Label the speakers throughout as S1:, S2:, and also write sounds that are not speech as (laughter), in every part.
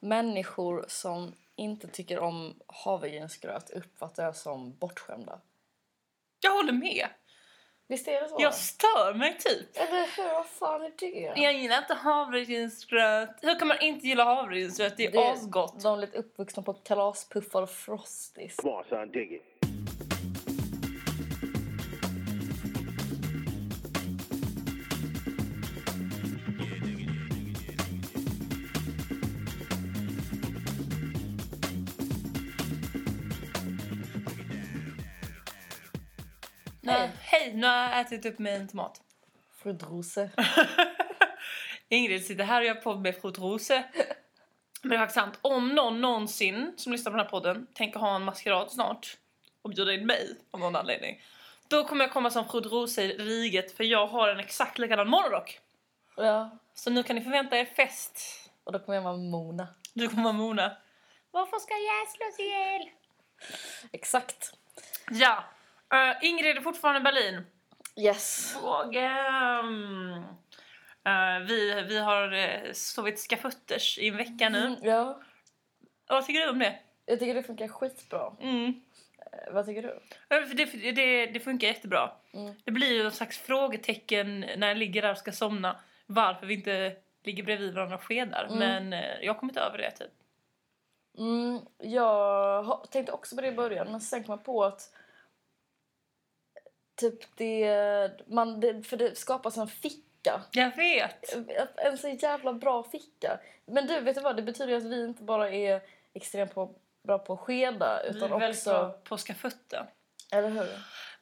S1: Människor som inte tycker om havregrynsgröt uppfattar jag som bortskämda.
S2: Jag håller med.
S1: Visst är det så?
S2: Jag stör mig typ.
S1: Eller hur? Vad fan är det?
S2: Jag gillar inte havregrynsgröt. Hur kan man inte gilla havregrynsgröt? Det är
S1: Det-
S2: asgott.
S1: De är lite uppvuxna på kalaspuffar och frosties.
S3: Come on, son, dig it.
S2: Nej. Hej, nu har jag ätit upp mig en tomat.
S1: Fridrose.
S2: Ingrid sitter här och gör podd med Frut (laughs) Rose. Men det är faktiskt sant. Om någon någonsin som lyssnar på den här podden tänker ha en maskerad snart och bjuda in mig av någon anledning. Då kommer jag komma som Frut Rose i riget för jag har en exakt likadan morgonrock.
S1: Ja.
S2: Så nu kan ni förvänta er fest.
S1: Och då kommer jag vara Mona.
S2: Du kommer vara Mona. Varför ska jag slås ihjäl?
S1: Exakt.
S2: Ja. Eh, Ingrid är fortfarande i Berlin.
S1: Yes.
S2: Fråga. mm, eh, vi, vi har eh, sovit skafutters i en vecka nu.
S1: Mm, ja.
S2: Vad tycker du om det?
S1: Jag tycker det funkar skitbra.
S2: Mm.
S1: Eh, Vad tycker du?
S2: Ja, för Det, för det, det funkar jättebra.
S1: Mm.
S2: Det blir ju någon slags frågetecken när jag ligger där och ska somna varför vi inte ligger bredvid varandra och skedar.
S1: Mm.
S2: Men eh, jag har kommit över det typ.
S1: Mm, jag har- tänkte också på det i början, men sen kom jag på att typ det, man, det, för det skapas en ficka.
S2: Jag vet!
S1: En så jävla bra ficka. Men du, vet du vad? Det betyder ju att vi inte bara är extremt på, bra på att skeda,
S2: Vi är
S1: utan
S2: väldigt
S1: också...
S2: bra på skafutten.
S1: Eller hur?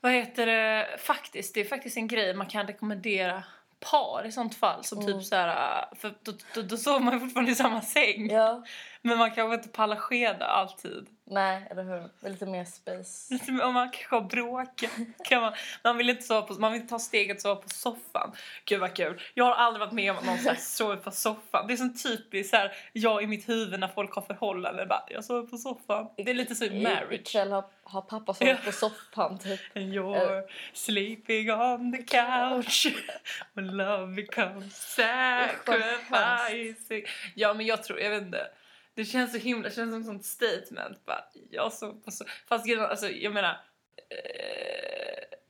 S2: Vad heter det? Faktiskt, det är faktiskt en grej man kan rekommendera par i sånt fall. Som
S1: Mm.
S2: typ så här, för då, då, då sover man ju fortfarande i samma säng.
S1: Ja.
S2: Men man kanske inte pallar skeda alltid. (laughs)
S1: Nej, eller hur? Med lite mer space.
S2: Lite mer- Om man kanske har bråkat. Kan man, man, vill inte sova på, man vill inte ta steget att sova på soffan. Gud vad kul. Jag har aldrig varit med om att någon så här sover på soffan. Det är sån typiskt så här, jag i mitt huvud när folk har förhållanden. Bara, jag sover på soffan. Det är lite så i
S1: I-
S2: marriage.
S1: Ikväll har, har pappa sovit på soffan, typ.
S2: And you're sleeping on the couch (laughs) When love becomes sacrificing Ja men jag tror, jag vet inte Det känns så himla, det känns som ett sånt statement bara, jag sov på så, Fast grejen är, alltså, jag menar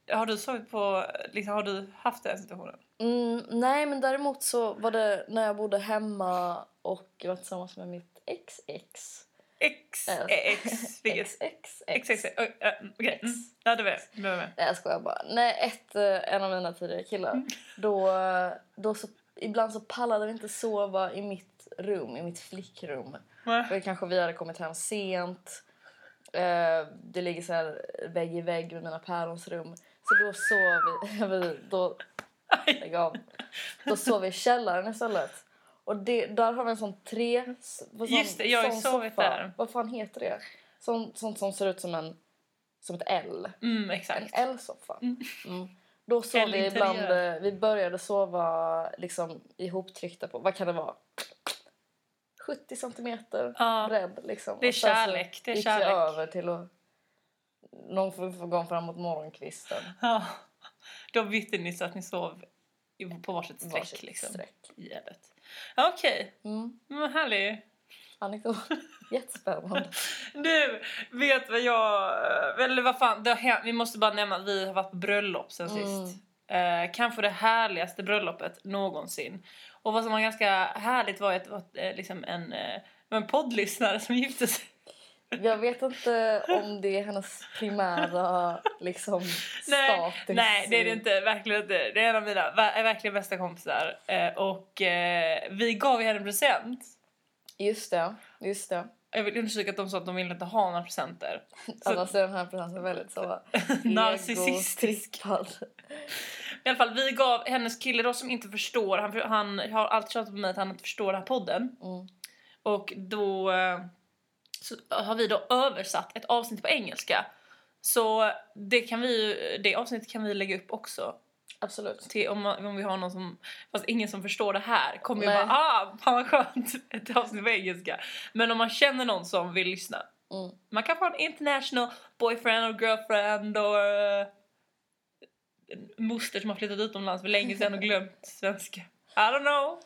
S2: eh, Har du sovit på, liksom, har du haft den situationen?
S1: Mm, nej, men däremot så var det när jag bodde hemma och jag var tillsammans med mitt ex ex.
S2: X,
S1: Eh,
S2: ex, vilket?
S1: ex, ex, ex.
S2: X, X, X, Ö, ö, okej, mm. ja det var jag, det var jag med
S1: Nej, jag skojar bara. Nej, ett, eh, en av mina tidigare killar. Då, eh, då så, ibland så pallade vi inte sova i mitt rum, i mitt flickrum. För kanske vi hade kommit hem sent. Eh, det ligger så här vägg i vägg med mina pärons rum. Så då sov vi... (laughs) vi då,
S2: Aj.
S1: lägg av. Då sov vi i källaren istället. Och det, där har vi en sån tre... Sån,
S2: Just det, jag har ju
S1: sån
S2: sovit
S1: soffa.
S2: där.
S1: Vad fan heter det? Sån, sånt som ser ut som en... Som ett L.
S2: Mm,
S1: En
S2: exakt
S1: L-soffa. Mm. Då sov vi
S2: L-interiör.
S1: ibland... eh, Vi började sova liksom ihoptryckta på... Vad kan det vara? 70 centimeter
S2: Ja.
S1: bredd. Liksom.
S2: Det är
S1: Och sen så
S2: kärlek, det är
S1: gick
S2: kärlek.
S1: vi över till att... Någon får få gång fram mot morgonkvisten.
S2: Ja. Då bytte ni så att ni sov i- på varsitt streck.
S1: Varsitt
S2: liksom.
S1: streck.
S2: I gärdet. Ja, Okej,
S1: Mm.
S2: men vad härlig.
S1: Anekdot. Jättespännande.
S2: Du, vet vad jag... eh, Eller vad fan, det har hänt, vi måste bara nämna att vi har varit på bröllop sen
S1: Mm.
S2: sist. Eh, kanske det härligaste bröllopet någonsin. Och vad som var ganska härligt var ju att det var eh, liksom en, eh, det var en poddlyssnare som gifte sig.
S1: Jag vet inte om det är hennes primära liksom,
S2: (laughs) Nej,
S1: status.
S2: nej, det är det
S1: i-
S2: inte. Verkligen inte. Det är en av mina ver- är verkligen bästa kompisar. Eh, och eh, vi gav ju henne en present.
S1: Just det. Just det.
S2: Jag vill understryka att de sa att de ville inte ha några presenter. Så-
S1: Annars är den här presenten väldigt så...
S2: Narcissistisk.
S1: egotrippad.
S2: I alla fall, vi gav hennes kille då som inte förstår, han, han har alltid tjatat på mig att han inte förstår den här podden.
S1: Mm.
S2: Och då eh, så har vi då översatt ett avsnitt på engelska. Så det, kan vi, ju- det avsnittet kan vi lägga upp också
S1: Absolut.
S2: till, om, man, om vi har någon som, fast ingen som förstår det här kommer ju
S1: Nej.
S2: bara ah, fan vad skönt, (laughs) ett avsnitt på engelska. Men om man känner någon som vill lyssna,
S1: Mm.
S2: man kanske har en international boyfriend or girlfriend or eh,
S1: (laughs)
S2: en moster som har flyttat utomlands för länge sedan och glömt svenska. I don't know.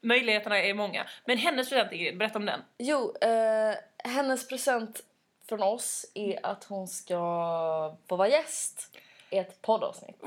S2: möjligheterna är många. Men hennes present Ingrid, berätta om den.
S1: Jo, eh, hennes present från oss är att hon ska få vara gäst i ett poddavsnitt.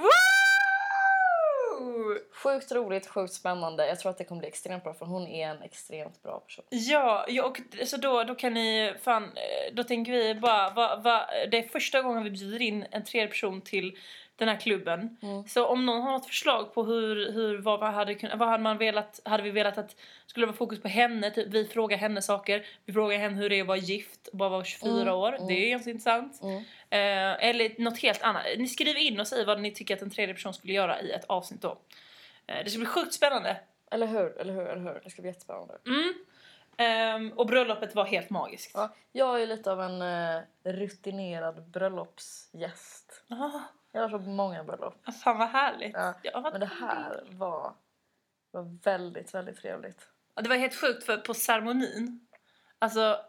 S2: Woo!
S1: Sjukt roligt, sjukt spännande. Jag tror att det kommer bli extremt bra för hon är en extremt bra person.
S2: Ja, ja och så då, då kan ni fan, eh, då tänker vi bara, va, va, det är första gången vi bjuder in en tredje person till den här klubben.
S1: Mm.
S2: Så om någon har något förslag på hur, hur vad, vad hade kunnat, vad hade man velat, hade vi velat att skulle det vara fokus på henne, typ, vi frågar henne saker, vi frågar henne hur det är att vara gift och bara vara 24
S1: Mm,
S2: år,
S1: mm.
S2: det är ganska intressant.
S1: Mm.
S2: Eh, eller något helt annat. Ni skriver in och säger vad ni tycker att en tredje person skulle göra i ett avsnitt då. Eh, det ska bli sjukt spännande.
S1: Eller hur, eller hur, eller hur. Det ska bli jättespännande.
S2: Mm. Ehm, och bröllopet var helt magiskt.
S1: Ja, jag är lite av en eh, rutinerad bröllopsgäst.
S2: Ah,
S1: Jag har varit på många bröllop.
S2: fan vad härligt.
S1: Ja,
S2: Ja, vad
S1: Men det här var, var väldigt, väldigt trevligt.
S2: Ja, Det var helt sjukt för på ceremonin, alltså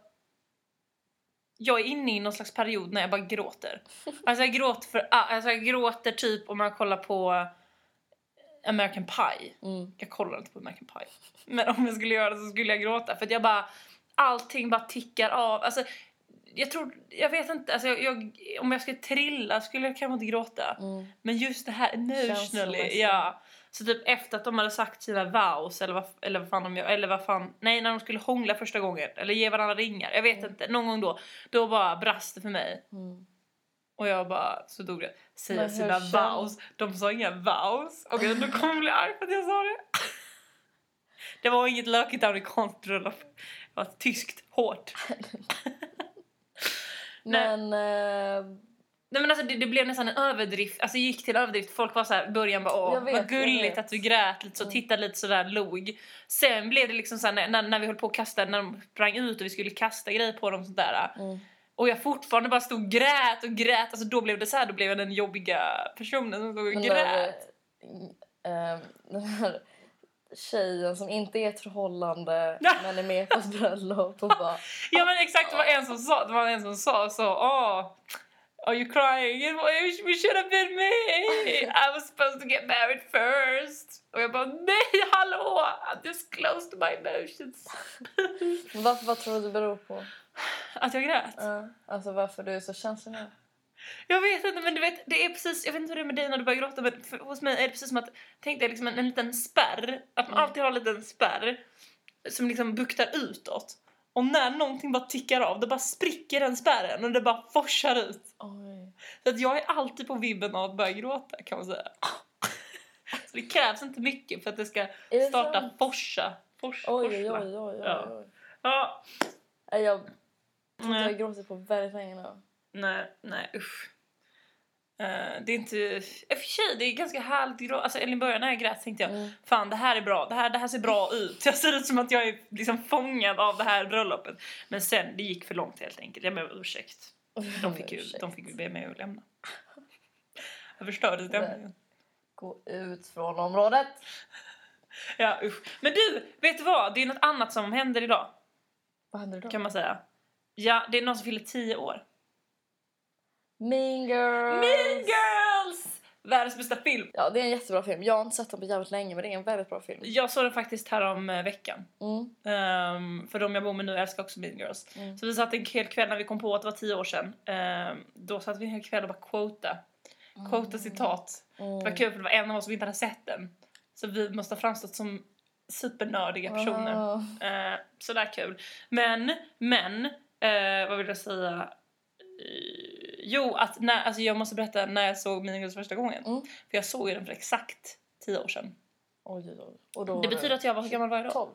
S2: jag är inne i någon slags period när jag bara gråter. Alltså jag gråter, för, ah, alltså jag gråter typ om man kollar på American Pie.
S1: Mm.
S2: Jag kollar inte på American Pie. Men om jag skulle göra det så skulle jag gråta. För att jag bara, allting bara tickar av. Alltså, jag tror, jag vet inte, alltså, jag, jag, om jag skulle trilla skulle jag kanske inte gråta.
S1: Mm.
S2: Men just det här emotionally,
S1: Känslomässigt.
S2: ja. Så typ efter att de hade sagt sina vows eller vad, eller vad fan de gör, eller vad fan, nej när de skulle hångla första gången eller ge varandra ringar, jag vet
S1: Mm.
S2: inte, någon gång då, då bara brast det för mig.
S1: Mm.
S2: Och jag bara, så dog det. Säga
S1: Men hur
S2: sina
S1: känns-
S2: vows. De sa inga vows. Och jag nu kommer jag bli arg för att jag sa det. (laughs) Det var inget lökigt amerikanskt bröllop. Det var tyskt, hårt. Nej.
S1: Men eh,
S2: Nej men alltså det, det blev nästan en överdrift. Alltså det gick till överdrift. Folk var så här, början bara åh
S1: Jag vet,
S2: vad
S1: jag
S2: gulligt
S1: vet.
S2: att du grät lite så,
S1: Mm.
S2: tittade lite sådär, log. Sen blev det liksom såhär när, när, när vi höll på att kasta, när de sprang ut och vi skulle kasta grejer på dem sådär.
S1: mm.
S2: Och jag fortfarande bara stod och grät och grät. Alltså då blev det så här, då blev jag den jobbiga personen som stod och
S1: Men
S2: grät.
S1: Där, eh, den här tjejen som inte är i ett förhållande
S2: Ja.
S1: men är med på ett bröllop och bara
S2: Ja men exakt, det var en som sa, det var en som sa så, åh, are you crying? It was- We should have been me! I was supposed to get married first! Och jag bara, nej hallå! I'm just close to my emotions.
S1: Men varför, vad tror du det beror på?
S2: (laughs) Att jag grät?
S1: Eh, alltså varför du är så känslig nu?
S2: Jag vet inte men du vet, det är precis, jag vet inte hur det är med dig när du börjar gråta men för, hos mig är det precis som att, tänk dig liksom en, en liten spärr, att man
S1: Mm.
S2: alltid har en liten spärr som liksom buktar utåt. Och när någonting bara tickar av, då bara spricker den spärren och det bara forsar ut.
S1: Oj.
S2: Så att jag är alltid på vibben av att börja gråta kan man säga. Så det krävs inte mycket för att det ska
S1: Är det
S2: starta
S1: sant?
S2: forsa. Forsa.
S1: Oj, oj,
S2: forsla.
S1: oj, oj, oj.
S2: Ja.
S1: oj.
S2: Ja.
S1: Nej, Jag tror inte Alltså, jag har
S2: Nej,
S1: gråtit på väldigt länge nu.
S2: nej, nej usch. Eh, det är inte... I och för sig, det är ganska härligt grå... Alltså, eller i början när jag grät tänkte jag
S1: Mm.
S2: Fan, det här är bra. Det här, det här ser bra ut. Jag ser ut som att jag är liksom fångad av det här bröllopet. Men sen, det gick för långt helt enkelt. Jag ber om ursäkt. De fick ju,
S1: Ursäkta.
S2: de fick ju be mig att lämna. Jag förstörde stämningen.
S1: Gå ut från området.
S2: Ja, usch. Men du, vet du vad? Det är något annat som händer idag,
S1: Vad händer då?
S2: kan man säga. Ja, det är någon som fyller 10 år.
S1: Mean Girls!
S2: Mean Girls! Världens bästa film.
S1: Ja, det är en jättebra film. Jag har inte sett den på jävligt länge, men det är en väldigt bra film.
S2: Jag såg den faktiskt här om eh, veckan.
S1: Mm,
S2: Ehm, för de jag bor med nu älskar också Mean Girls.
S1: mm.
S2: Så vi satt en hel kväll när vi kom på att det var 10 år sedan. Ehm, då satt vi en hel kväll och bara quota. Quota citat.
S1: Mm.
S2: Det var kul för det var en av oss som inte hade sett den. Så vi måste ha framstått som supernördiga personer.
S1: Ah.
S2: Eh, sådär kul. Men, men, eh, vad vill jag säga? Eh, jo, att när, alltså jag måste berätta när jag såg Mean Girls första gången.
S1: Mm.
S2: För jag såg ju den för exakt 10 år sedan.
S1: Oj, oj, oj. Och då
S2: det betyder att jag var, hur gammal var jag då?
S1: 12.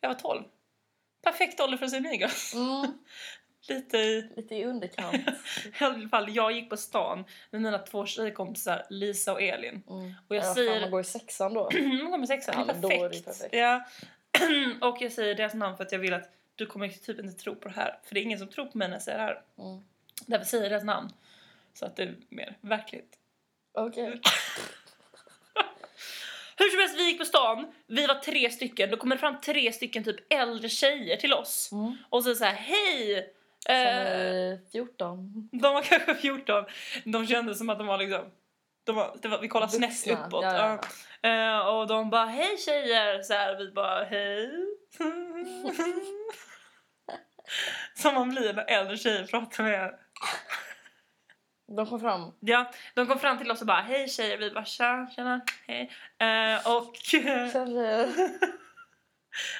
S2: Jag var 12. Perfekt ålder för att se Mean Girls.
S1: Mm,
S2: (laughs) Lite i...
S1: lite i
S2: (laughs)
S1: underkant.
S2: I alla fall, jag gick på stan med mina två tjejkompisar Lisa och Elin.
S1: Mm.
S2: Och jag
S1: ja,
S2: säger-
S1: Fan,
S2: (clears throat)
S1: man går i sexan då.
S2: Hon kommer sexan,
S1: Ja,
S2: det
S1: men då är
S2: är
S1: det ju
S2: perfekt.
S1: perfekt.
S2: Ja. (clears throat) och jag säger deras namn för att jag vill att du kommer typ inte tro på det här. För det är ingen som tror på mig när jag säger det här.
S1: Mm.
S2: Därför säger jag deras namn. Så att det är mer verkligt.
S1: Okej.
S2: Hur som helst, vi gick på stan. Vi var tre stycken. Då kommer det fram tre stycken typ äldre tjejer till oss.
S1: Mm.
S2: Och så säger hej!
S1: Som
S2: Eh,
S1: är 14.
S2: de var kanske 14. De kände som att de var liksom De var, det var, vi kollade snett
S1: Vuxna,
S2: uppåt.
S1: ja, ja,
S2: ja. Eh, och de bara hej tjejer! Så här, vi
S1: (laughs)
S2: bara hej. Som man blir när äldre tjejer pratar med en.
S1: De kom fram.
S2: Ja, de kom fram till oss och bara hej tjejer, vi bara tja, tjena, hej. Eh, och (laughs) eh,
S1: Kände-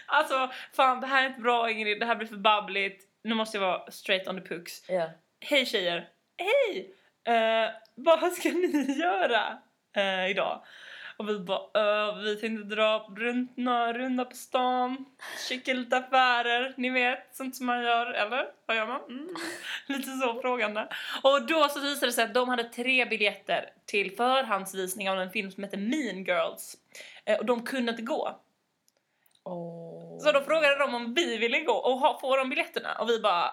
S2: alltså fan det här är inte bra Ingrid, det här blir för babbligt. Nu måste jag vara straight on the pucks.
S1: (laughs) Ja.
S2: Hej tjejer, hej! Eh, vad ska ni (laughs) göra eh, idag? Och vi bara eh, vi tänkte dra runt några runda på stan, kika lite affärer, ni vet sånt som man gör, eller? Vad gör man? Mm. (laughs) Lite så frågande. Och då så visade det sig att de hade tre biljetter till förhandsvisning av en film som heter Mean Girls. Eh, och de kunde inte gå.
S1: Åh.
S2: Så då frågade de om vi ville gå och ha, få de biljetterna och vi bara...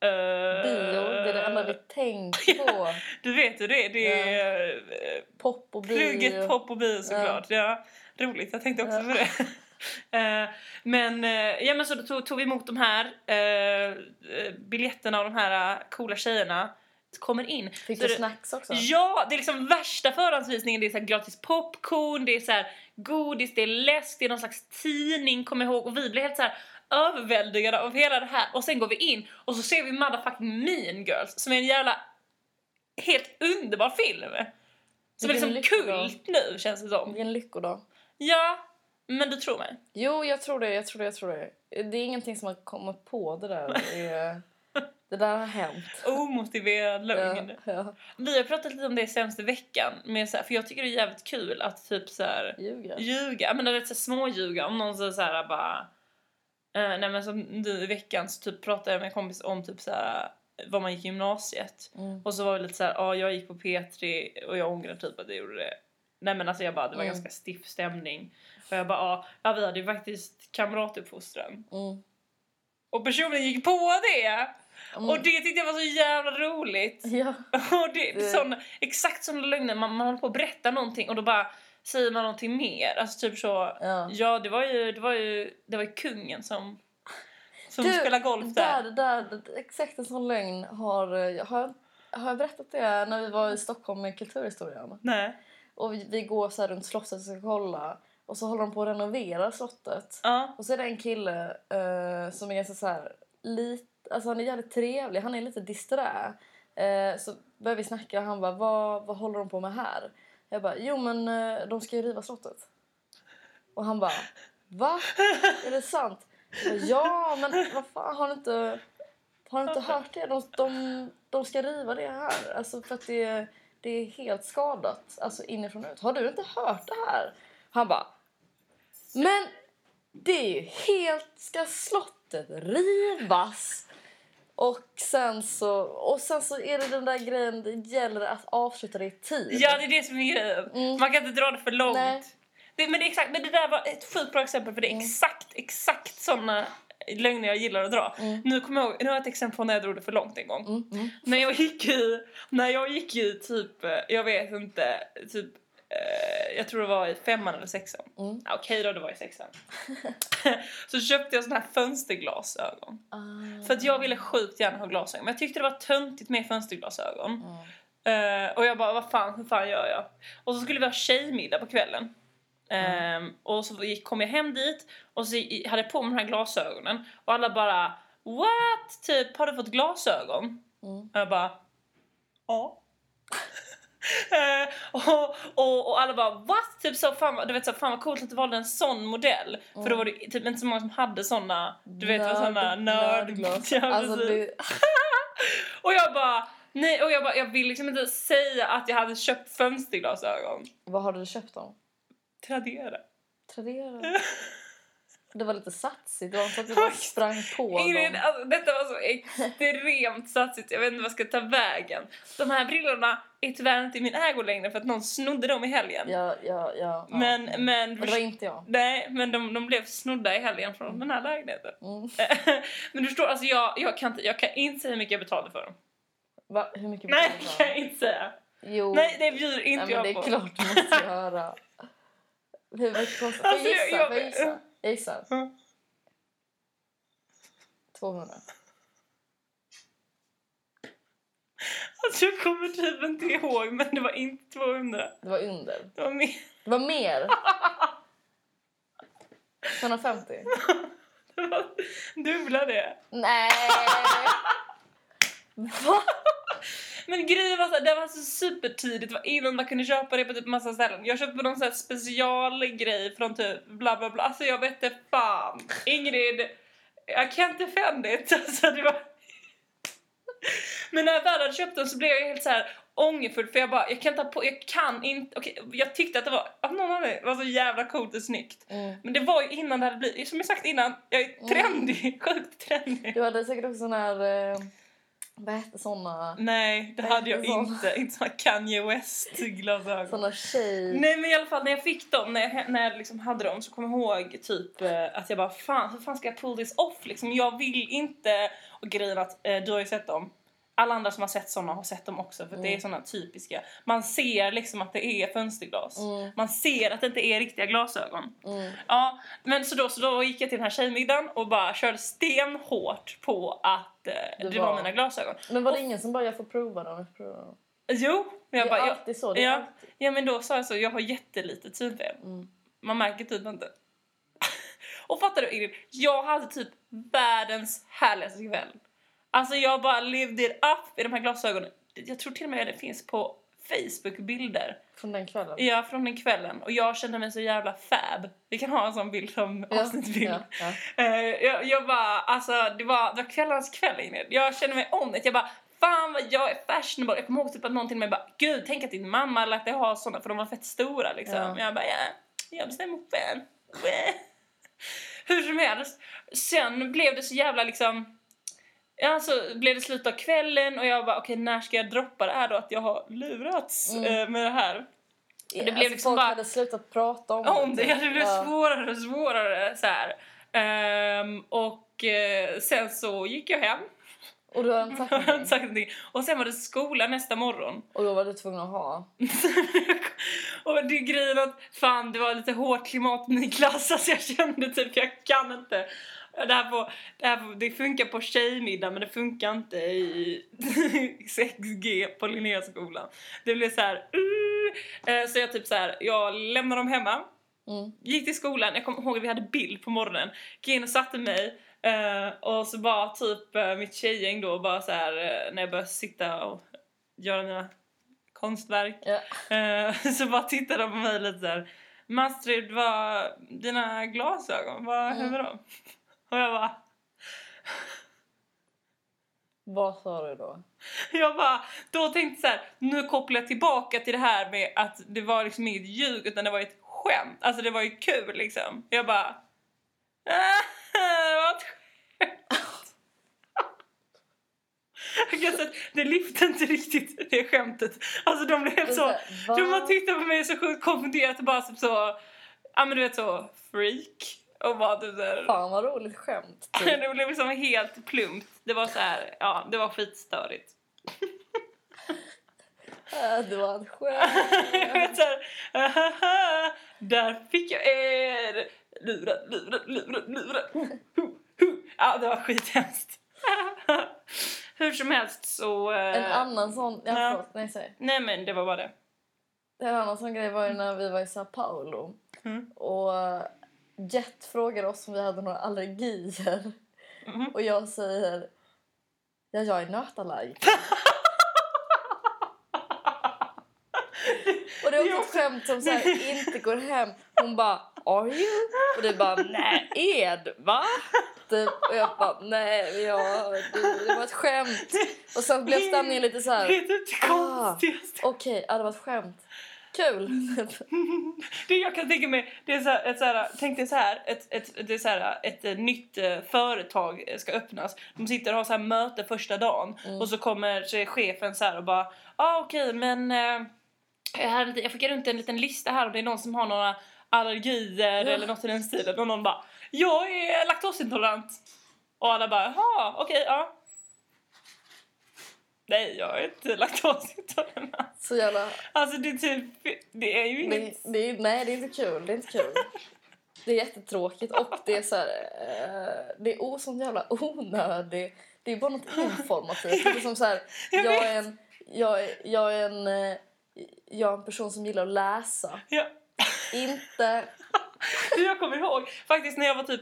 S2: eh,
S1: Bio, det är det
S2: (laughs)
S1: enda vi tänker på.
S2: Du vet hur det är, det är eh,
S1: Pop och bio.
S2: plugget, pop och bio såklart. Ja. roligt, jag tänkte också
S1: Ja. (laughs)
S2: på det. Eh, men, eh, ja, men så då tog, tog vi emot de här eh, eh, biljetterna och de här eh, coola tjejerna kommer in.
S1: Fick
S2: Så
S1: du
S2: det-
S1: snacks också?
S2: Ja, det är liksom värsta förhandsvisningen. Det är så här gratis popcorn, det är så här godis, det är läsk, det är någon slags tidning, kommer jag ihåg. Och vi blir helt så här överväldigade av hela det här. Och sen går vi in och så ser vi motherfucking Mean Girls som är en jävla helt underbar film. Som är
S1: Vilken
S2: liksom
S1: lyckodag.
S2: kult nu känns det som.
S1: Vilken lyckodag.
S2: Ja, men du tror mig.
S1: Jo, jag tror det, jag tror det, jag tror det. Det är ingenting som har kommit på det där. Det, är- det där har
S2: (laughs)
S1: hänt.
S2: Omotiverad lögn.
S1: Ja, ja.
S2: Vi har pratat lite om det senaste veckan. Med så här, för jag tycker det är jävligt kul att typ så här,
S1: Ljuger.
S2: ljuga, men det är småljuga om någon säger så här bara eh, nej men som nu i veckan så typ pratade jag med en kompis om typ så här vad man gick i gymnasiet
S1: Mm.
S2: och så var det lite så här ja jag gick på P3 och jag ångrar typ att jag gjorde det. Nej men alltså jag bara det var
S1: Mm.
S2: ganska stiff stämning och jag bara ja, ja vi hade ju faktiskt kamratuppfostran
S1: Mm.
S2: och personen gick på det
S1: Mm.
S2: och det tyckte jag var så jävla roligt.
S1: (laughs) Ja.
S2: (laughs) Och det, det är
S1: Det-
S2: sån, exakt såna lögner, man, man håller på att berätta någonting och då bara säger man någonting mer. Alltså typ så, (laughs)
S1: ja.
S2: ja det var ju, det var ju, det var ju kungen som, som
S1: Du,
S2: spelade golf där.
S1: Där, där, exakt en sån lögn har, har, jag- har jag berättat det när vi var i Stockholm med kulturhistorien.
S2: Nej.
S1: Och vi, vi går så här runt slottet och ska kolla och så håller de på att renovera slottet.
S2: Ja.
S1: Och så är det en kille eh, som är ganska så här lit, alltså han är jävligt trevlig, han är lite disträ. Eh, så börjar vi snacka och han bara, vad, vad håller de på med här? Jag bara, jo men eh, de ska ju riva slottet. Och han bara, va? Är det sant? Jag bara, ja men vad fan har du inte, har du inte hört det? De, de, de ska riva det här, alltså för att det, det är helt skadat, alltså inifrån och ut. Har du inte hört det här? Han bara, men det är ju helt... Ska slottet rivas? Och sen så, och sen så är det den där grejen, det gäller att avsluta det i tid.
S2: ja, det är det som är grejen.
S1: Mm.
S2: Man kan inte dra det för långt.
S1: Nej.
S2: Det, men, det är exakt, men det där var ett sjukt bra exempel för det är
S1: Mm.
S2: exakt, exakt såna lögner jag gillar att dra.
S1: Mm.
S2: Nu kommer jag ihåg, nu har jag ett exempel på när jag drog det för långt en gång.
S1: Mm, mm.
S2: När jag gick i, när jag gick i typ, eh, jag vet inte, typ, eh, jag tror det var i femman eller sexan.
S1: Mm.
S2: Ja, Okej då, det var
S1: (laughs)
S2: i sexan. (laughs) så köpte jag såna här fönsterglasögon.
S1: Ah.
S2: För att jag ville sjukt gärna ha glasögon. Men jag tyckte det var töntigt med fönsterglasögon.
S1: Mm.
S2: Eh, och jag bara, vad fan, hur fan gör jag? Och så skulle vi ha tjejmiddag på kvällen. Ehm, och så gick, kom jag hem dit och så i- hade jag på mig de här glasögonen. Och alla bara, what? Typ, har du fått glasögon?
S1: Mm.
S2: Och jag bara, ja. (laughs) Eh, och, och, och alla bara what? Typ så, fan, vad- du vet, så, fan vad coolt att du valde en sån modell. För då
S1: Mm.
S2: var det typ inte så många som hade såna, du vet vad såna nörd... (laughs) Ja,
S1: alltså,
S2: precis.
S1: det,
S2: Och jag bara, nej och jag bara, jag vill liksom inte säga att jag hade köpt fönsterglasögon.
S1: vad har du köpt dem?
S2: Tradera. (laughs)
S1: Tradera? Det var lite satsigt, det var inte att du bara sprang på
S2: Ingrid,
S1: dem.
S2: alltså, detta var så extremt satsigt. Jag vet inte vad jag ska ta vägen. De här brillorna är tyvärr inte i min ägo längre för att någon snodde dem i helgen.
S1: Ja, ja, ja, ja.
S2: Men, men...
S1: Och det var inte jag.
S2: Nej, men de, de blev snodda i helgen från den här lägenheten. (laughs)
S1: Mm.
S2: men du förstår, alltså jag, jag, kan inte, jag kan inte säga hur mycket jag betalade för dem.
S1: Va, hur mycket
S2: Nej,
S1: betalade
S2: det
S1: du?
S2: kan jag inte säga.
S1: Jo.
S2: Nej, det bjuder inte
S1: Nej, men
S2: jag
S1: det
S2: på.
S1: är klart du
S2: (laughs)
S1: måste göra. Hur mycket kostar Får jag
S2: Alltså, jag-
S1: gissa?
S2: jag-
S1: Får jag gissa? Jag gissar.
S2: Ja.
S1: 200.
S2: Alltså jag kommer typ inte ihåg men det var inte 200.
S1: Det var under.
S2: Det var mer.
S1: Det var mer. 250.
S2: Det var (laughs) dubbla det.
S1: Nej! Va?
S2: Men grejen var så här, det var så supertidigt. Det var innan man kunde köpa det på typ massa ställen. Jag köpte någon sån här specialgrej från typ bla bla bla. Alltså jag vet inte fan. Ingrid, jag kan inte defend it. (laughs) Alltså det var... Men när jag väl hade köpt den så blev jag helt så här ångerfull för jag bara, jag kan inte ha på, jag kan inte, okej jag tyckte att det var, av någon anledning, det var så jävla coolt och snyggt.
S1: Mm.
S2: Men det var ju innan det hade blivit, som jag sagt innan, jag är trendig, (laughs) sjukt trendig.
S1: Du hade säkert också sån här... Eh, vad hette såna?
S2: Nej, det
S1: Vad
S2: hade jag
S1: heter de?
S2: inte. Inte såna Kanye West-glasögon.
S1: Såna tjej...
S2: Nej men i alla fall när jag fick dem, när jag, när jag liksom hade dem så kom jag ihåg typ eh, att jag bara fan hur fan ska jag pull this off liksom? Jag vill inte... Och grejen att eh, du har ju sett dem. Alla andra som har sett såna har sett dem också för att det är
S1: Mm.
S2: såna typiska. Man ser liksom att det är fönsterglas.
S1: Mm,
S2: Man ser att det inte är riktiga glasögon.
S1: mm.
S2: Ja, men så då, så då gick jag till den här tjejmiddagen och bara körde stenhårt på att eh, det,
S1: Det
S2: var...
S1: var-
S2: mina glasögon.
S1: Men var det ingen som bara jag får prova dem? Jag får prova dem.
S2: Jo, men jag
S1: det är
S2: bara... Jag,
S1: alltid så. Det är
S2: ja.
S1: alltid.
S2: ja, men då sa jag så, jag har jättelite synfel.
S1: Mm.
S2: Man märker typ inte. (laughs) och fattar du Ingrid, jag hade typ världens härligaste kväll. Alltså jag bara lived it up i de här glasögonen. Jag tror till och med det finns på Facebook-bilder.
S1: Från den kvällen.
S2: Ja, från den kvällen. Och jag kände mig så jävla fab. Vi kan ha en sån bild som avsnittsbild.
S1: Ja, ja.
S2: (laughs) Eh, jag, jag bara, alltså det var, det var kvällens kväll Ingrid. Jag kände mig on it. Jag bara, fan vad jag är fashionable. Jag kommer ihåg typ att någon till mig bara, gud tänk att din mamma lät dig ha såna för de var fett stora liksom.
S1: Ja.
S2: Men Jag bara, ja, jag bestämmer själv. (laughs) Eh. Hur som helst. Sen blev det så jävla liksom, ja så blev det slut av kvällen och jag bara, okej när ska jag droppa det här då att jag har lurats
S1: Mm.
S2: eh, med det här?
S1: Det
S2: blev
S1: alltså,
S2: liksom
S1: folk
S2: bara-
S1: hade slutat prata om,
S2: om det.
S1: typ.
S2: Det blev
S1: Ja.
S2: svårare och svårare. Så här. Ehm, och eh, sen så gick jag hem.
S1: Och du hade inte sagt
S2: Jag har inte
S1: någonting.
S2: sagt någonting. och sen var det skola nästa morgon. (laughs)
S1: Och då var du tvungen att ha.
S2: och det är grejen att fan det var lite hårt klimat i min klass. Alltså jag kände typ jag kan inte. Det, här på, det, här på, det funkar på tjejmiddag men det funkar inte i (laughs) 6G på Linnéskolan. Det blev så här. Uh, Eh, så jag typ så här, jag lämnar dem hemma.
S1: Mm.
S2: Gick till skolan, jag kommer ihåg att vi hade bild på morgonen. Gick in och satte mig eh, och så bara typ eh, mitt tjejgäng då bara så här eh, när jag började sitta och göra mina konstverk
S1: Ja.
S2: eh, (laughs) så bara tittade de på mig lite så här. Mastrid, vad, dina glasögon, vad
S1: Mm.
S2: hände med dem? (laughs) Och jag bara,
S1: Vad sa du då?
S2: (laughs) jag bara, då tänkte så här, nu kopplar jag tillbaka till det här med att det var liksom inget ljug utan det var ett skämt. Alltså det var ju kul liksom. Jag bara, (laughs) "Ah, det var ett skämt. (laughs) Jag kan säga att det lyfte inte riktigt det skämtet. Alltså de blev helt så,
S1: här, va?
S2: de har tittat på mig så sjukt konfunderat och bara typ så, ja men du vet så, freak. Och bara typ där.
S1: Fan vad roligt skämt. typ.
S2: (laughs) Det blev liksom helt plumpt. Det var så här, ja det var skitstörigt.
S1: Äh, det var ett skämt.
S2: Jag (laughs) vet såhär, ahaha, där fick jag er! Lurad, lurad, lurad, lurad. Hu, hu. Ja, det var skithemskt. (laughs) Hur som helst så... eh,
S1: En annan sån... Ja,
S2: Ja.
S1: förlåt, nej, säg.
S2: Nej men det var bara det.
S1: En annan sån grej var ju när vi var i Sao Paulo.
S2: Mm.
S1: Och Jet frågade oss om vi hade några allergier.
S2: Mhm.
S1: Och jag säger... Ja, jag är nötallergiker.
S2: (laughs)
S1: Och det är
S2: Det är
S1: också ett
S2: också-
S1: skämt som så här inte går hem. Hon bara “Are you?” och du bara “Nej, Ed, va?” typ. Och jag bara “Nej, ja, det, det var ett skämt”. Och sen blev stämningen lite så
S2: (laughs) Det
S1: här "Ah."
S2: är typ det konstigaste.
S1: “Okej, ja, det var ett skämt. Kul!”
S2: (laughs) Det jag kan tänka mig, det är så här, ett, så här, tänk dig så här, ett, ett, det är så här, ett, eh, nytt eh, företag eh, ska öppnas. De sitter och har så här möte första dagen
S1: Mm.
S2: och så kommer så är chefen så här och bara, ja ah, okej men eh, jag, hade, inte- jag skickar runt en liten lista här om det är någon som har några allergier
S1: Ja.
S2: eller något i den stilen och någon bara, jag är laktosintolerant. Och alla bara, jaha okej ja. Nej jag är inte (laughs) laktosintolerant.
S1: Så jävla...
S2: Alltså det är typ, det är ju inget.
S1: Det, det, är- nej, det är inte kul. Det är inte kul. Det är jättetråkigt och det är så här, eh, det är o, sån jävla onödig... Det är bara något informativt. Det är som så här,
S2: Jag
S1: jag är en jag, är- jag, är en, eh, jag är en person som gillar att läsa.
S2: Ja.
S1: Inte...
S2: Du, (laughs) Jag kommer ihåg faktiskt när jag var typ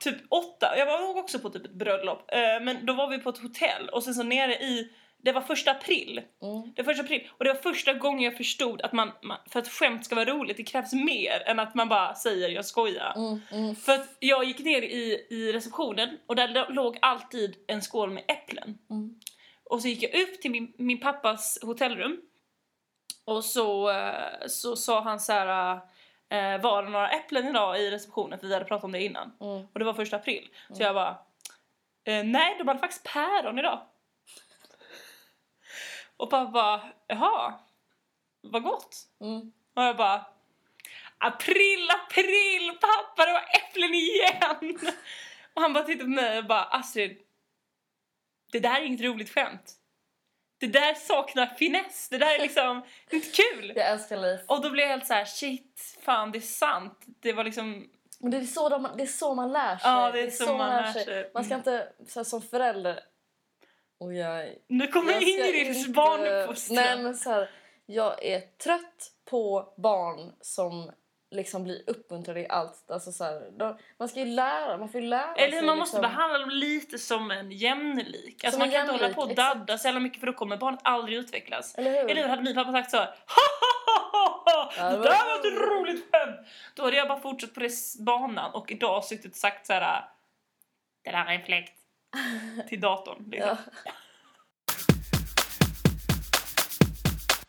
S2: typ åtta, jag var nog också på typ ett bröllop, eh, men då var vi på ett hotell och sen så nere i, det var första april,
S1: Mm.
S2: det var första april och det var första gången jag förstod att man, man för att skämt ska vara roligt, det krävs mer än att man bara säger jag skojar.
S1: Mm, mm.
S2: För att jag gick ner i, i receptionen och där lo- låg alltid en skål med äpplen.
S1: Mm.
S2: Och så gick jag upp till min, min pappas hotellrum och så, eh, så sa han så här eh, var det några äpplen idag i receptionen för vi hade pratat om det innan.
S1: Mm.
S2: Och det var första april. Så jag bara eh, nej de hade faktiskt päron idag. Och pappa bara jaha vad gott.
S1: Mm.
S2: Och jag bara April, april, pappa det var äpplen igen! Och han bara tittade på mig och bara Astrid, det där är inget roligt skämt. Det där saknar finess, det där är liksom det är inte kul.
S1: Jag älskar liv.
S2: Och då blev jag helt så här: shit, fan det är sant. Det var liksom,
S1: Men det är så, de, det är så man lär sig.
S2: Ja, det är så man lär sig. Mm.
S1: Man ska inte, så här, som förälder... Och jag,
S2: nu kommer
S1: jag ska
S2: Ingrids
S1: inte- Nej,
S2: barnuppfostran.
S1: men så här, jag är trött på barn som liksom blir uppmuntrade i allt. Alltså, så här, de, man ska ju lära, man får ju lära
S2: Eller hur,
S1: sig
S2: man måste
S1: liksom-
S2: behandla dem lite som en jämlik. Alltså
S1: Som
S2: man
S1: en
S2: kan inte hålla
S1: jämlik,
S2: på och
S1: exakt.
S2: dadda så jävla mycket för då kommer barnet aldrig utvecklas.
S1: Eller hur?
S2: Eller hade min pappa sagt så här, "Hahaha,
S1: Ja, det
S2: Det
S1: var-
S2: där var ett roligt skämt! Då hade jag bara fortsatt på den banan och idag suttit och sagt så här. Det där är
S1: (laughs)
S2: en fläkt. Till datorn. Liksom.
S1: Ja.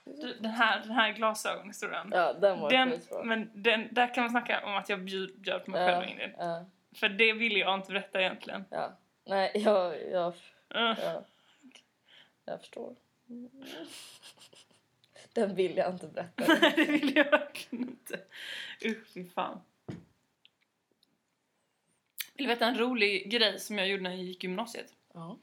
S2: Du, Den här, den här glasögonhistorien.
S1: ja, den var
S2: Den,
S1: skitbra.
S2: men den, där kan man snacka om att jag bjud, bjöd på mig själv och Ingrid.
S1: ja,
S2: För det ville jag inte berätta egentligen.
S1: ja. Nej, jag, jag,
S2: Uh,
S1: jag, jag
S2: (laughs)
S1: förstår. Den vill jag inte berätta.
S2: Nej, (laughs) det ville jag verkligen inte. Usch, fy fan. Vill du veta en rolig grej som jag gjorde när jag gick i gymnasiet?
S1: Ja.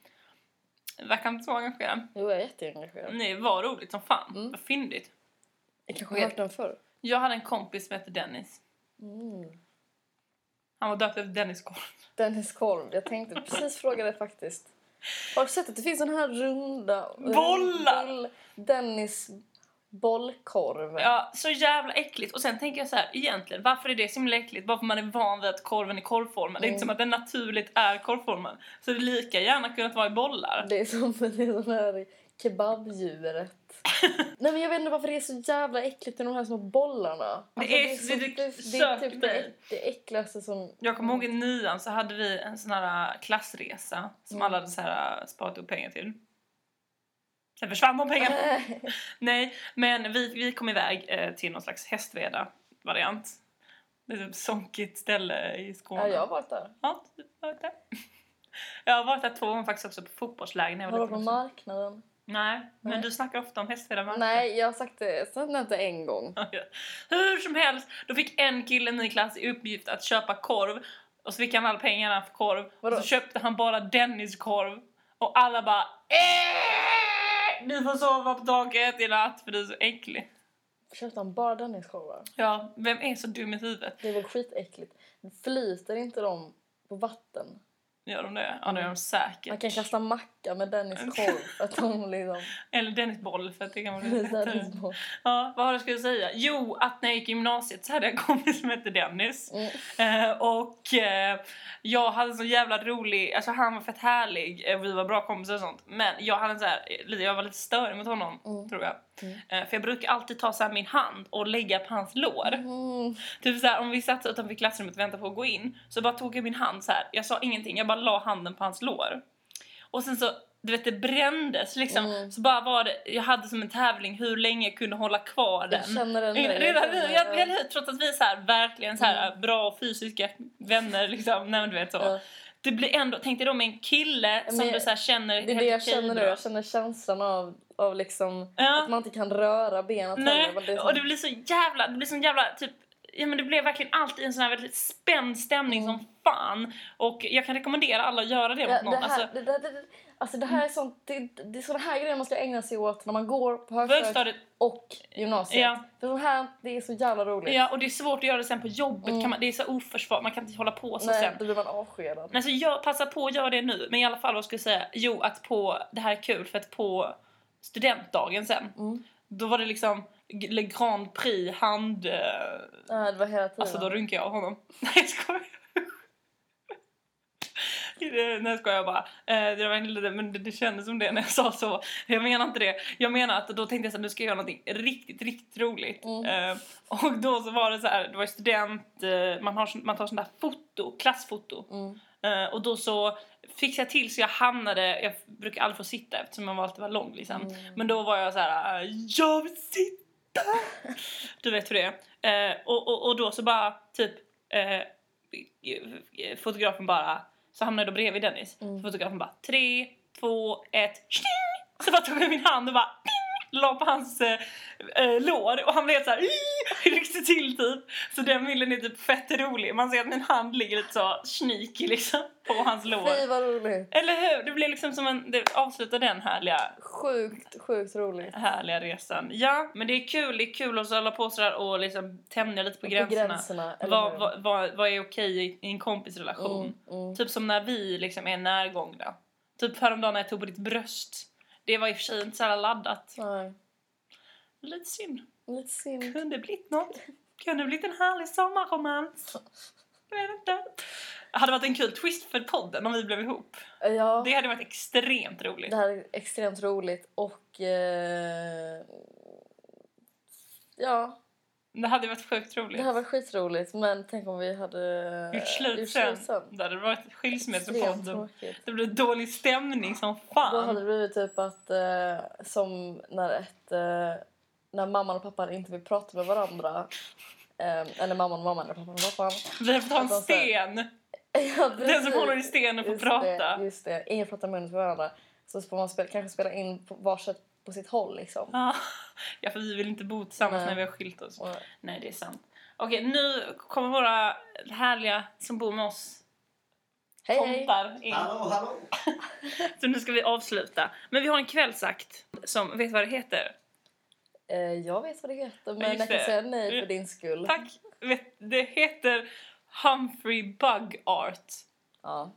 S2: Verkar inte så engagerad.
S1: Jo, jag är jätteengagerad.
S2: Nej, det var roligt som fan.
S1: Mm.
S2: Vad fyndigt.
S1: Jag kanske har hört den förr.
S2: Jag hade en kompis som hette Dennis.
S1: Mm.
S2: Han var döpt efter Dennis Korv.
S1: Dennis Korv. Jag tänkte precis fråga det faktiskt. Har du sett att det finns den här runda...
S2: Bollar!
S1: rund- Dennis bollkorv.
S2: Ja, så jävla äckligt. Och sen tänker jag så här, egentligen, varför är det så himla äckligt? Bara för man är van vid att korven är korvformad. Det är inte
S1: Mm.
S2: som att den naturligt är korvformad. Så det är lika gärna kunnat vara i bollar.
S1: Det är som det är sån här
S2: (laughs)
S1: kebabdjuret. Nej men jag vet inte varför det är så jävla äckligt med de här små bollarna. Alltså,
S2: Det är- det- det-
S1: är
S2: sök
S1: typ det,
S2: dig.
S1: äck- det äckligaste som...
S2: Jag kommer ihåg i nian så hade vi en sån här äh, klassresa som
S1: Mm.
S2: alla hade så här äh, sparat upp pengar till. Sen försvann
S1: (laughs)
S2: de pengarna. Nej, men vi, vi kom iväg eh, till någon slags Hästveda-variant. Det är ett sonkigt ställe i
S1: (laughs)
S2: Skåne.
S1: ja, jag har varit där.
S2: Ja, du har varit där. (laughs) Jag har varit där två gånger faktiskt också på fotbollsläger när jag
S1: Har du
S2: var
S1: varit
S2: liten
S1: på
S2: också.
S1: marknaden?
S2: Nej, men
S1: Nej.
S2: du snackar ofta om Hästveda marknad. (laughs)
S1: Nej, jag har sagt det, jag sa det inte en gång.
S2: Hur som helst, då fick en kille i min klass i uppgift att köpa korv och så fick han alla pengarna för korv
S1: Vadå?
S2: och så köpte han bara Dennis korv och alla bara "Eh, Du får sova på taket i natt för du är så äcklig.
S1: Köpte han bara Denniskorvar?
S2: Ja, vem är så dum i huvudet?
S1: Det är väl skitäckligt. Flyter inte de på vatten?
S2: Gör de det? Ja, det gör de säkert.
S1: Man kan kasta macka med Denniskorv för att de
S2: (laughs)
S1: liksom...
S2: Eller Dennis Boll, för att det kan
S1: (laughs)
S2: vara lite lättare.
S1: Dennisboll.
S2: Ja, vad var det jag skulle säga? Jo, att när jag gick i gymnasiet så hade jag en kompis som hette Dennis.
S1: Mm.
S2: Eh, och eh, jag hade så jävla rolig, alltså han var fett härlig, eh, vi var bra kompisar och sånt. Men jag hade så här, eh, lite- jag var lite störig mot honom,
S1: Mm.
S2: tror jag.
S1: Mm.
S2: Eh, för jag brukar alltid ta så här min hand och lägga på hans lår.
S1: Mm.
S2: Typ så här, om vi satt utanför klassrummet och väntade på att gå in så bara tog jag min hand så här. Jag sa ingenting, jag bara la handen på hans lår. Och sen så, du vet det brändes liksom.
S1: Mm.
S2: Så bara var det, jag hade som en tävling hur länge jag kunde hålla kvar den.
S1: Jag känner den
S2: Ingrid,
S1: nu, jag
S2: redan nu,
S1: känner-
S2: jag, eller hur? Trots att vi är så här, verkligen så här, bra fysiska vänner liksom. Nej, men du vet så.
S1: Ja.
S2: Det blir ändå, tänk dig då med en kille som
S1: Men
S2: du så här känner
S1: Det är det
S2: helt
S1: jag
S2: okej
S1: känner nu.
S2: bra.
S1: Jag känner känslan av, av liksom
S2: Ja.
S1: att man inte kan röra benet
S2: Nej,
S1: heller. men Det är så-
S2: och det blir så jävla, det blir så jävla typ Ja men det blev verkligen alltid en sån här väldigt spänd stämning som fan och jag kan rekommendera alla att göra det
S1: Mm. Ja,
S2: mot någon.
S1: det, här,
S2: alltså,
S1: det, det, det, det- alltså det här är sånt, det, det är såna här grejer man ska ägna sig åt när man går på högstadiet
S2: högstadiet,
S1: och gymnasiet.
S2: Ja.
S1: För sånt här, det är så jävla roligt.
S2: ja och det är svårt att göra det sen på jobbet,
S1: Mm.
S2: kan man, det är så oförsvar, man kan inte hålla på så
S1: Nej,
S2: sen.
S1: då blir man avskedad.
S2: Men alltså jag, passa på att göra det nu men i alla fall vad ska jag säga, jo att på, det här är kul för att på studentdagen sen.
S1: Mm.
S2: Då var det liksom G- Le Grand Prix hand... eh,
S1: Ja, det var hela tiden.
S2: Alltså då runkade jag av honom. (laughs) Nej jag skojar. Eh, Nej jag skojar jag bara. Eh, Det var inte det, men det, det kändes som det när jag sa så. Jag menar inte det. Jag menar att då tänkte jag så här, nu ska jag göra någonting riktigt, riktigt roligt.
S1: Mm.
S2: Eh, Och då så var det så här, det var ju student, eh, man, har, sån- man tar sån där foto, klassfoto.
S1: Mm.
S2: Eh, och då så fixade jag till så jag hamnade, jag brukar aldrig få sitta eftersom jag var alltid var lång liksom.
S1: Mm.
S2: Men då var jag så här: eh, jag vill sitta! (laughs) du vet hur det är. Eh, och, och, och då så bara typ, eh, fotografen bara, så hamnade jag då bredvid Dennis.
S1: Mm.
S2: Fotografen bara, tre, två, ett, tjing! Så bara tog jag min hand och bara, "Ting!" la på hans eh, eh, lår och han blev helt såhär (laughs) ryckte till typ. Så den bilden är typ fett rolig. Man ser att min hand ligger lite så sneaky liksom på hans lår.
S1: Fy vad roligt.
S2: Eller hur? Det blev liksom som en, det avslutar den härliga,
S1: Sjukt, sjukt roligt.
S2: härliga resan. Ja, men det är kul, det är kul att hålla på sådär och liksom tämja lite på
S1: På
S2: gränserna.
S1: gränserna. eller
S2: Vad,
S1: hur?
S2: vad, vad, vad är okej i i en kompisrelation?
S1: Mm, mm.
S2: Typ som när vi liksom är närgångna. Typ häromdagen när jag tog på ditt bröst. Det var i och för sig inte så här laddat.
S1: Nej,
S2: Lite synd.
S1: lite synd.
S2: Kunde blivit något. Kunde blivit en härlig sommarromans. Jag vet inte. Det hade varit en kul twist för podden om vi blev ihop.
S1: Ja,
S2: Det hade varit extremt roligt.
S1: det här är extremt roligt och... Eh, ja,
S2: Det hade varit sjukt
S1: det eh,
S2: roligt.
S1: här var skitroligt men tänk om vi hade...
S2: Gjort slut sen. Det hade varit
S1: Extremt
S2: skilsmässopodden.
S1: tråkigt.
S2: Det blev dålig stämning som
S1: Då hade det
S2: fan.
S1: blivit typ att eh, som när ett eh, när mamman och pappan inte vill prata med varandra eh, eller mamman och mamman eller pappan och pappan. (laughs)
S2: Vi hade fått ha en
S1: att de så-
S2: sten.
S1: Ja,
S2: Den som
S1: precis.
S2: håller i stenen (laughs) får
S1: Just
S2: prata.
S1: Det, just det. Ingen pratar i munnen för varandra. Så får man spela, kanske spela in på varsitt på sitt håll liksom.
S2: Ja, Ja, för vi vill inte bo tillsammans
S1: Nej.
S2: när vi har skilt oss.
S1: Och,
S2: Nej, det är sant. Okej, nu kommer våra härliga som bor med oss
S1: hej hej!
S2: tomtar in.
S3: Hallå, hallå!
S2: (laughs) Så nu ska vi avsluta. Men vi har en kvällsakt som, vet vad det
S1: Mm.
S2: heter?
S1: Eh, jag vet vad det heter men
S2: just
S1: jag kan
S2: det.
S1: säga nej för din skull.
S2: Tack! Vet, det heter Humphrey Bug Art.
S1: Ja.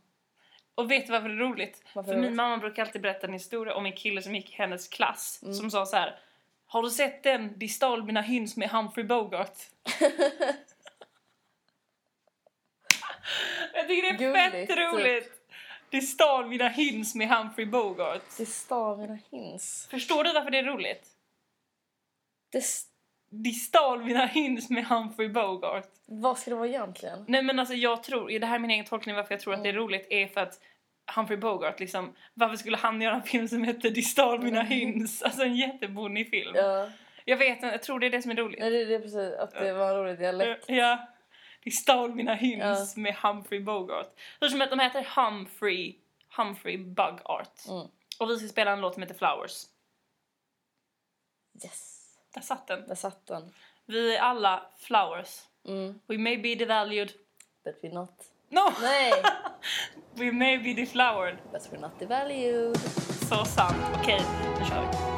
S2: Och vet du varför det är roligt?
S1: Varför
S2: För
S1: är det
S2: min
S1: roligt?
S2: mamma brukar alltid berätta en historia om en kille som gick i hennes klass
S1: Mm.
S2: som sa så här. Har du sett den? De stal mina hyns med Humphrey
S1: (laughs)
S2: Bogart. Jag tycker det är
S1: Gulligt, typ.
S2: fett roligt! De stal mina hyns med Humphrey Bogart.
S1: Det stal mina hins.
S2: Förstår du varför det är roligt?
S1: Det s-
S2: De stal mina hyns med Humphrey Bogart.
S1: vad ska det vara egentligen?
S2: Nej men alltså jag tror, det här är min egen tolkning varför jag tror att det är
S1: Mm.
S2: roligt är för att Humphrey Bogart liksom, varför skulle han göra en film som heter De stal mina
S1: Mm.
S2: hyns? Alltså en jättebonig film.
S1: Ja.
S2: Jag vet inte, jag tror det är det som är roligt.
S1: Nej, det, det är precis att det var en rolig dialekt.
S2: Ja. De stal mina hyns med Humphrey Bogart. Hur som helst, de heter Humphrey, Humphrey Bug Art.
S1: Mm.
S2: Och vi ska spela en låt som heter Flowers.
S1: Yes!
S2: Där satt den.
S1: Där satt den.
S2: Vi är alla flowers.
S1: Mm.
S2: We may be devalued.
S1: But we're not.
S2: No! (laughs)
S1: Nej!
S2: We may be deflowered.
S1: But we're not devalued.
S2: Så sant. Okej, nu kör vi.